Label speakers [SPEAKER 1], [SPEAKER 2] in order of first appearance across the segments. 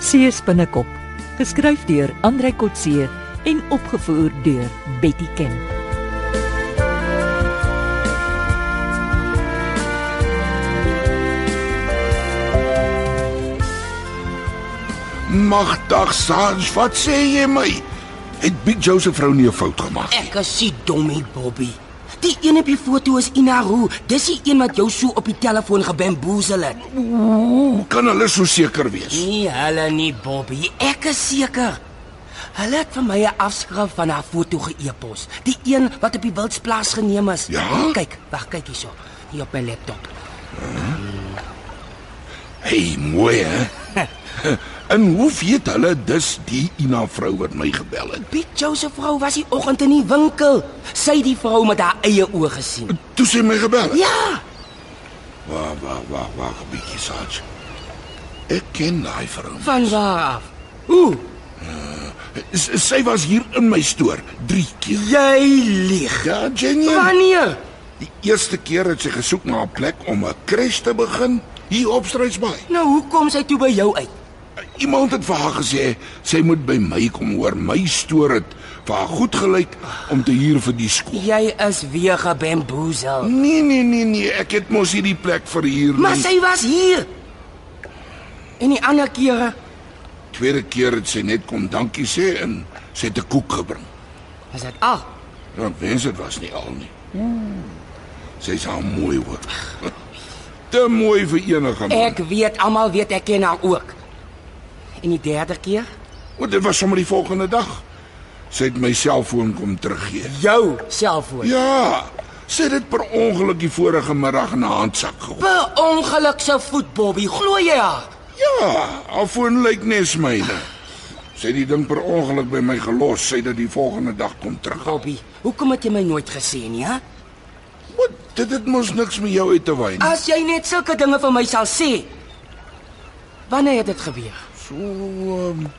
[SPEAKER 1] Coetzee se binnekop, geskryf deur Andrei Coetzee en opgevoer deur Betty Ken.
[SPEAKER 2] Magdag Sans, wat sê jy my? Het Big Joe se vrou nie 'n fout gemaak nie?
[SPEAKER 3] Ek is die domme Bobby. Die een op die foto is Inaru. Dis die een wat jou so op die telefoon gebamboezel het.
[SPEAKER 2] Hoe kan hulle so seker wees?
[SPEAKER 3] Nee, hulle nie Bobby. Ek is seker. Hulle het vir my 'n afskrif van haar foto geëpos. Die een wat op die wildsplaas geneem is.
[SPEAKER 2] Ja?
[SPEAKER 3] Kyk, wag, kyk hierso. Hier op my laptop.
[SPEAKER 2] Hey, mooi hè? en hoe weet hulle dis die Ina vrou wat my gebel het?
[SPEAKER 3] Piet Joe se vrou was die oggend in die winkel. Sy het die vrou met haar eie oë gesien.
[SPEAKER 2] Toe sê my gebel. het.
[SPEAKER 3] Ja,
[SPEAKER 2] Wag, wag, wag, wag 'n bietjie Sans. Ek ken daai vrou.
[SPEAKER 3] van waar af? Ooh,
[SPEAKER 2] S sy was hier in my stoor 3 keer.
[SPEAKER 3] jy lieg.
[SPEAKER 2] Ja, Jenny.
[SPEAKER 3] Wanneer?
[SPEAKER 2] Die eerste keer het sy gesoek na 'n plek om 'n crash te begin hier op Struisbaai.
[SPEAKER 3] Nou hoekom sy toe by jou uit?
[SPEAKER 2] Eh, Iemand het vir haar gesê sy moet by my kom hoor. My stoor het vir haar goed gelyk om te huur vir die skool.
[SPEAKER 3] Jy is weer gebamboezel.
[SPEAKER 2] Nee nee nee nee, ek het mos hierdie plek verhuur.
[SPEAKER 3] Maar
[SPEAKER 2] nie.
[SPEAKER 3] sy was hier. En die ander kere,
[SPEAKER 2] tweede keer het sy net kom dankie sê en sy het 'n koek gebring.
[SPEAKER 3] was dit al.
[SPEAKER 2] Dan wens dit was nie al nie.
[SPEAKER 3] Ja.
[SPEAKER 2] Sy is al mooi hoor. Te mooi vir enige man.
[SPEAKER 3] Ek weet almal weet ek ken haar ook. En die derde keer,
[SPEAKER 2] Want dit was sommer die volgende dag. Sy het my selfoon kom teruggee.
[SPEAKER 3] jou selfoon.
[SPEAKER 2] Ja. Sy het dit per ongeluk die vorige middag in haar handsak gegooi.
[SPEAKER 3] Per ongeluk se voet Bobby, glo jy haar?
[SPEAKER 2] Ja, afwoon lyk nes myne. Sy het die ding per ongeluk by my gelos, sy het dit die volgende dag kom terug.
[SPEAKER 3] Bobby, hoekom het jy my nooit gesê nie, hè?
[SPEAKER 2] Wat? Dit het mos niks met jou uit te wyn. nie.
[SPEAKER 3] As jy net sulke dinge vir my sal sê. Wanneer het dit gebeur?
[SPEAKER 2] So 'n um,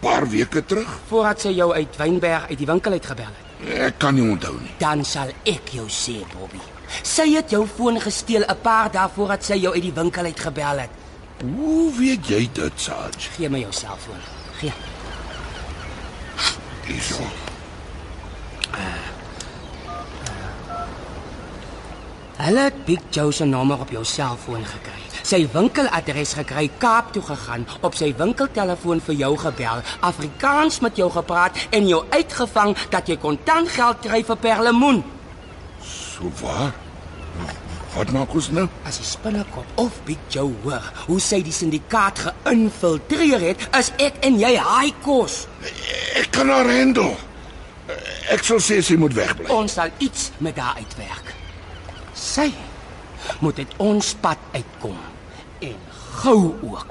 [SPEAKER 2] paar weke terug.
[SPEAKER 3] Voordat sy jou uit Wynberg uit die winkel uit gebel het.
[SPEAKER 2] Ek kan nie onthou nie.
[SPEAKER 3] Dan sal ek jou sê, Bobby. Sy het jou foon gesteel 'n paar dae voordat sy jou uit die winkel uit gebel het.
[SPEAKER 2] Hoe weet jy dit, Sarge?
[SPEAKER 3] Gee my jou selfoon. Gee.
[SPEAKER 2] Hierso.
[SPEAKER 3] Hulle het Big Joe se nommer op jou selfoon gekry. Sy winkeladres gekry, Kaap toe gegaan, op sy winkeltelefoon vir jou gebel, Afrikaans met jou gepraat en jou uitgevang dat jy kontant geld kry vir perlemoen.
[SPEAKER 2] So waar? Wat maak ons nou?
[SPEAKER 3] As die spinnekop of Big Joe hoor hoe sy die syndikaat geïnfiltreer het, is ek en jy haai kos.
[SPEAKER 2] Ek kan haar handel. Ek sal sê sy moet wegbly.
[SPEAKER 3] Ons sal iets met haar uitwerk. Sy moet uit ons pad uitkom en gou ook.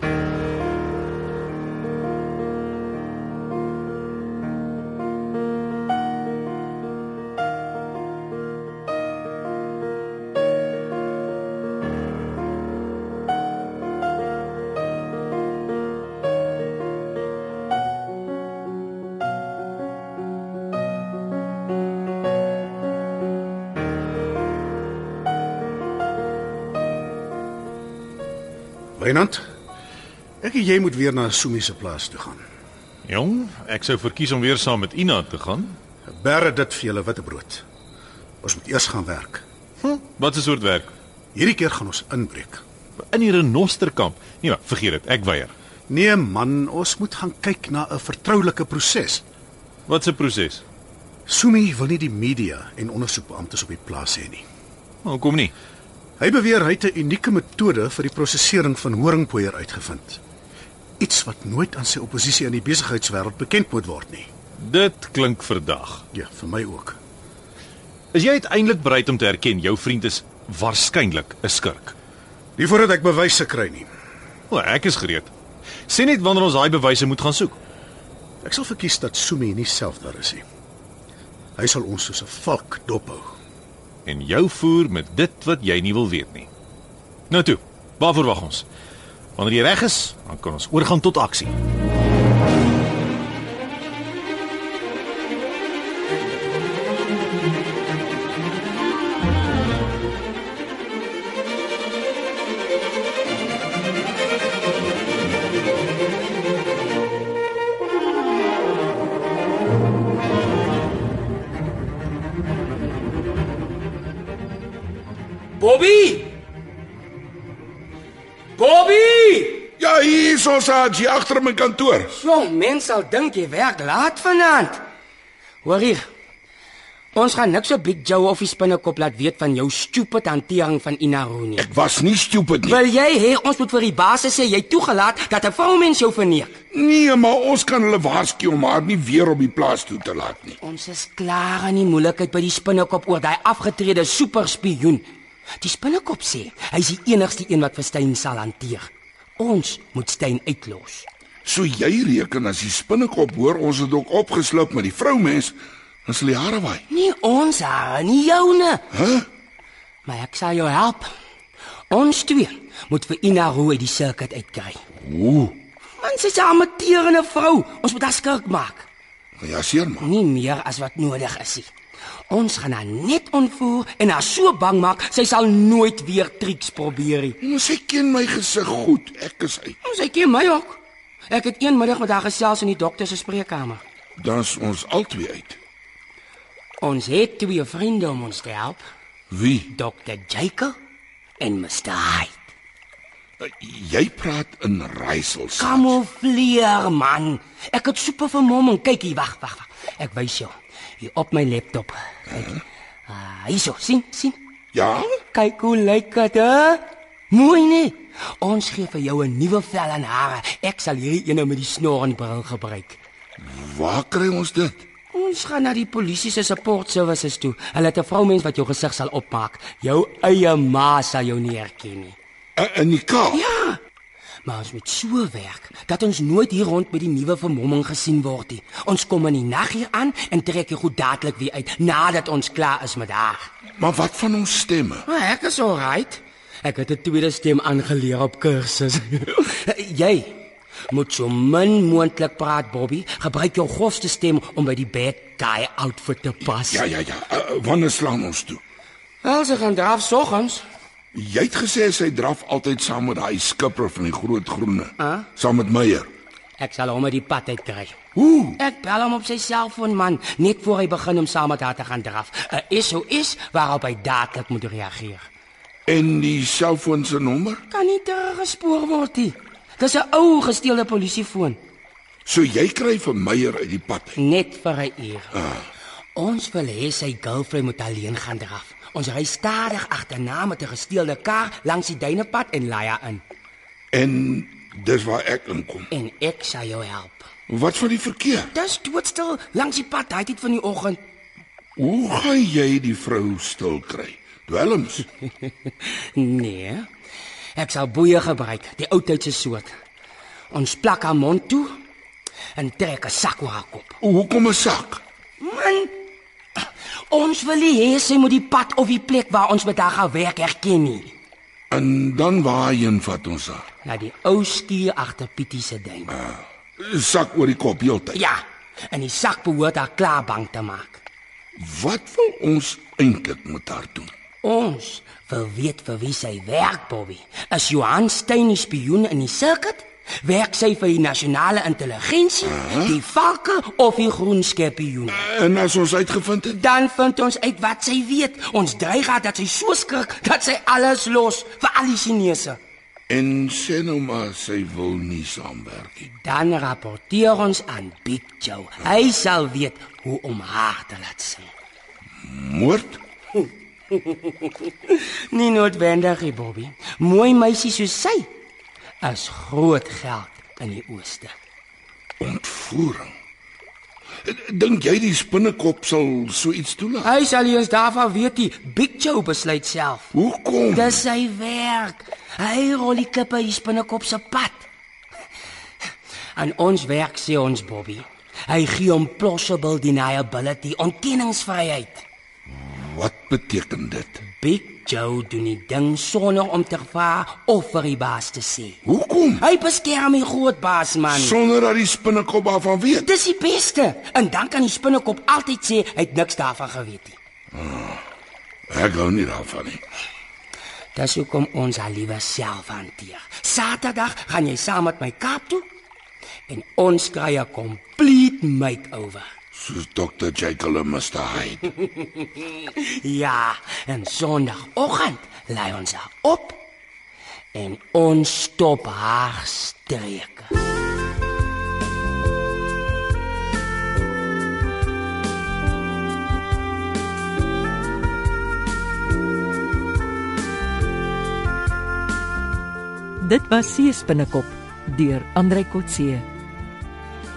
[SPEAKER 4] Wynand, ek en jy moet weer na Sumi se plaas toe gaan.
[SPEAKER 5] Jong, ek sou verkies om weer saam met Ina te gaan.
[SPEAKER 4] Berre dit vir julle witbrood. Ons moet eers gaan werk.
[SPEAKER 5] Hm, wat 'n soort werk?
[SPEAKER 4] Hierdie keer gaan ons inbreek.
[SPEAKER 5] In die renosterkamp. Nee, maar vergeet dit, ek weier.
[SPEAKER 4] Nee man, ons moet gaan kyk na 'n vertroulike proses.
[SPEAKER 5] Wat 'n proses.
[SPEAKER 4] Sumi wil nie die media en ondersoekbeamptes op die plaas hê nie.
[SPEAKER 5] Hoekom Nou, nie?
[SPEAKER 4] Hy beweer hy het 'n unieke metode vir die prosesering van horingpoeier uitgevind. Iets wat nooit aan sy oppositie in die besigheidswêreld bekend moet word nie.
[SPEAKER 5] Dit klink verdag.
[SPEAKER 4] Ja, vir my ook.
[SPEAKER 5] Is jy uiteindelik bereid om te erken jou vriend is waarskynlik 'n skurk?
[SPEAKER 4] Nie voordat ek bewyse kry nie.
[SPEAKER 5] O, ek is gereed. Sê net wanneer ons daai bewyse moet gaan soek.
[SPEAKER 4] Ek sal verkies dat Sumi nie self daar is nie. Hy sal ons soos 'n valk dophou.
[SPEAKER 5] En jou voer met dit wat jy nie wil weet nie. Nou toe, waarvoor wag ons? Wanneer jy reg is, dan kan ons oorgaan tot aksie.
[SPEAKER 3] Bobby! Bobby!
[SPEAKER 2] Ja, hier is ons Haji agter my kantoor.
[SPEAKER 3] Jong, mens sal dink jy werk laat vanaand. Hoor hier. Ons gaan niks op Big Joe of die spinnekop laat weet van jou stupid hantering van Inaro nie.
[SPEAKER 2] Ek was nie stupid nie.
[SPEAKER 3] Wil jy hê ons moet vir die baas sê jy toegelaat dat 'n vroumens jou verneek?
[SPEAKER 2] Nee, maar ons kan hulle waarsku om haar nie weer op die plaas toe te laat nie.
[SPEAKER 3] Ons is klaar aan die moeilikheid by die spinnekop oor daai afgetrede superspioen. Die spinnekop sê hy's die enigste een wat vir Steyn sal hanteer. Ons moet Steyn uitlos.
[SPEAKER 2] So jy reken as die spinnekop hoor ons het ook opgeslip met die vroumens, dan sal die hare waai.
[SPEAKER 3] Nie ons hare nie, joune.
[SPEAKER 2] Hæ? Huh?
[SPEAKER 3] Maar ek sal jou help. Ons twee moet vir Ina Roo uit die sirkus uitkry.
[SPEAKER 2] Ooh,
[SPEAKER 3] Man, sy's 'n amateurende vrou. Ons moet haar skulk maak.
[SPEAKER 2] ja seer maar.
[SPEAKER 3] Nie meer as wat nodig is nie. Ons gaan haar net ontvoer en haar so bang maak, sy sal nooit weer triks probeer nie.
[SPEAKER 2] Maar sy ken my gesig goed. Ek is uit.
[SPEAKER 3] Ons ken my ook. Ek het een middag met haar gesels in die dokter se spreekkamer.
[SPEAKER 2] Dan is ons albei uit.
[SPEAKER 3] Ons het twee vriende om ons te help,
[SPEAKER 2] Wie?
[SPEAKER 3] Dr. Jacob en Mr. Hyde.
[SPEAKER 2] Eh, Jy praat in raaisels.
[SPEAKER 3] Kamoufleer man. Ek het super vermomming. Kyk hier, wag, wag, wag. Ek wys jou. Hier op my laptop. Kyk. Ah, hier so, sien, sien.
[SPEAKER 2] Ja?
[SPEAKER 3] Kyk hoe lyk dit, hè? Mooi nie. Ons gee vir jou 'n nuwe vel en hare. Ek sal hierdie een nou met die snor en bril gebruik.
[SPEAKER 2] Waar kry ons dit?
[SPEAKER 3] Ons gaan na die polisie se support services toe. Hulle het 'n vroumens wat jou gesig sal opmaak. Jou eie ma sal jou nie herken nie.
[SPEAKER 2] I- Eh, In die kaap.
[SPEAKER 3] Ja. Maar ons moet so werk dat ons nooit hier rond met die nuwe vermomming gesien word nie. Ons kom in die nag hier aan en trek hier goed dadelik weer uit nadat ons klaar is met haar.
[SPEAKER 2] Maar wat van ons stemme?
[SPEAKER 3] Maar ek is alright. Ek het 'n tweede stem aangeleer op kursus. Jy moet so min moontlik praat, Bobby. Gebruik jou grofste stem om by die bad guy outfit te pas.
[SPEAKER 2] Ja, ja, ja. Uh, wanneer slaan ons toe?
[SPEAKER 3] Wel, ze gaan draf soggens.
[SPEAKER 2] Jy het gesê sy draf altyd saam met daai skipper van die groot groene. Huh? Saam met Meyer.
[SPEAKER 3] Ek sal hom uit die pad uitkry.
[SPEAKER 2] Ooh,
[SPEAKER 3] Ek bel hom op sy selfoon man, net voor hy begin om saam met haar te gaan Eh, draf. 'n SOS waarop hy dadelik moet reageer.
[SPEAKER 2] en die selfoon se nommer?
[SPEAKER 3] Kan nie teruggespoor word nie. Dis 'n ou gesteelde polisiefoon,
[SPEAKER 2] So jy kry vir Meyer uit die pad. uit.
[SPEAKER 3] net vir 'n uur. Ons wil hê sy girlfriend moet alleen gaan draf. Ons ry stadig agterna met 'n gesteelde kar langs die duinepad en laai haar in.
[SPEAKER 2] En dis waar ek inkom.
[SPEAKER 3] En ek sal jou help.
[SPEAKER 2] Wat van die verkeer?
[SPEAKER 3] Dis doodstil langs die pad, daai tyd van die oggend.
[SPEAKER 2] Hoe gaan jy die vrou stil kry? Dwelms.
[SPEAKER 3] Nee. Ek sal boeie gebruik, die ou tyd se soort. Ons plak haar mond toe en trek 'n sak oor haar kop.
[SPEAKER 2] Hoekom 'n sak?
[SPEAKER 3] Man, ons wil nie hê sy moet die pad of die plek waar ons met haar gaan werk herken nie.
[SPEAKER 2] En dan waarheen vat ons haar?
[SPEAKER 3] Na die ou skuur agter Pietie se duin.
[SPEAKER 2] Sak oor die kop heeltyd.
[SPEAKER 3] Ja, en die sak behoort haar klaar bang te maak.
[SPEAKER 2] Wat wil ons eintlik met haar doen?
[SPEAKER 3] Ons wil weet vir wie sy werk, Bobby. Is Johan Steyn die spioen in die sirkus? Werk sy vir die nasionale intelligensie, die valke of die groen skorpioen?
[SPEAKER 2] En as ons uitgevind het,
[SPEAKER 3] Dan vind ons uit wat sy weet. Ons dreig haar dat sy so skrik dat sy alles los vir al die Chinese.
[SPEAKER 2] en sê nou maar sy wil nie saamwerk nie.
[SPEAKER 3] Dan rapporteer ons aan Big Joe. Hy sal weet hoe om haar te laat sien.
[SPEAKER 2] Moord?
[SPEAKER 3] Nie noodwendig, nie, Bobby. Mooi meisie soos sy is groot geld in die ooste.
[SPEAKER 2] Ontvoering? Dink jy die spinnekop sal so iets toelaat?
[SPEAKER 3] Hy sal eers daarvan weet die Big Joe besluit self.
[SPEAKER 2] Hoekom?
[SPEAKER 3] Dis sy werk. Hy rol die klippe hier spinnekop se pad. Aan ons werk sê ons Bobby. Hy gee hom plausible deniability, ontkenningsvryheid.
[SPEAKER 2] Wat beteken dit?
[SPEAKER 3] Big Joe doen die ding sonder om te vra of vir die baas te sê.
[SPEAKER 2] Hoekom?
[SPEAKER 3] Hy beskerm die groot baas man.
[SPEAKER 2] Sonder dat die spinnekop daarvan weet.
[SPEAKER 3] Dis die beste. En dan kan die spinnekop altyd sê hy het niks daarvan geweet nie.
[SPEAKER 2] Ek gou nie daarvan nie.
[SPEAKER 3] Dis hoekom ons haar liewe self hanteer. Saterdag gaan jy saam met my Kaap toe en ons kry 'n complete makeover.
[SPEAKER 2] Soos Dr. Jekyll en Mr. Hyde.
[SPEAKER 3] Ja, en Sondagoggend lei ons haar op en ons stop haar streke.
[SPEAKER 1] Dit was Seespinnekop deur Andrei Kotse.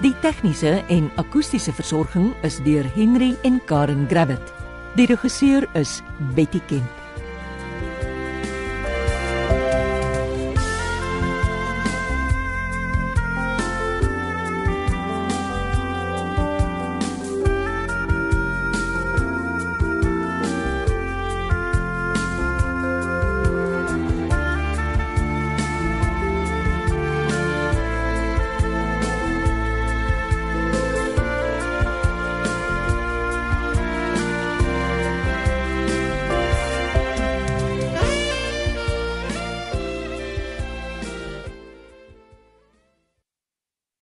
[SPEAKER 1] Die tegniese en akoestiese versorging is deur Henry en Karen Gravett. Die regisseur is Betty Ken.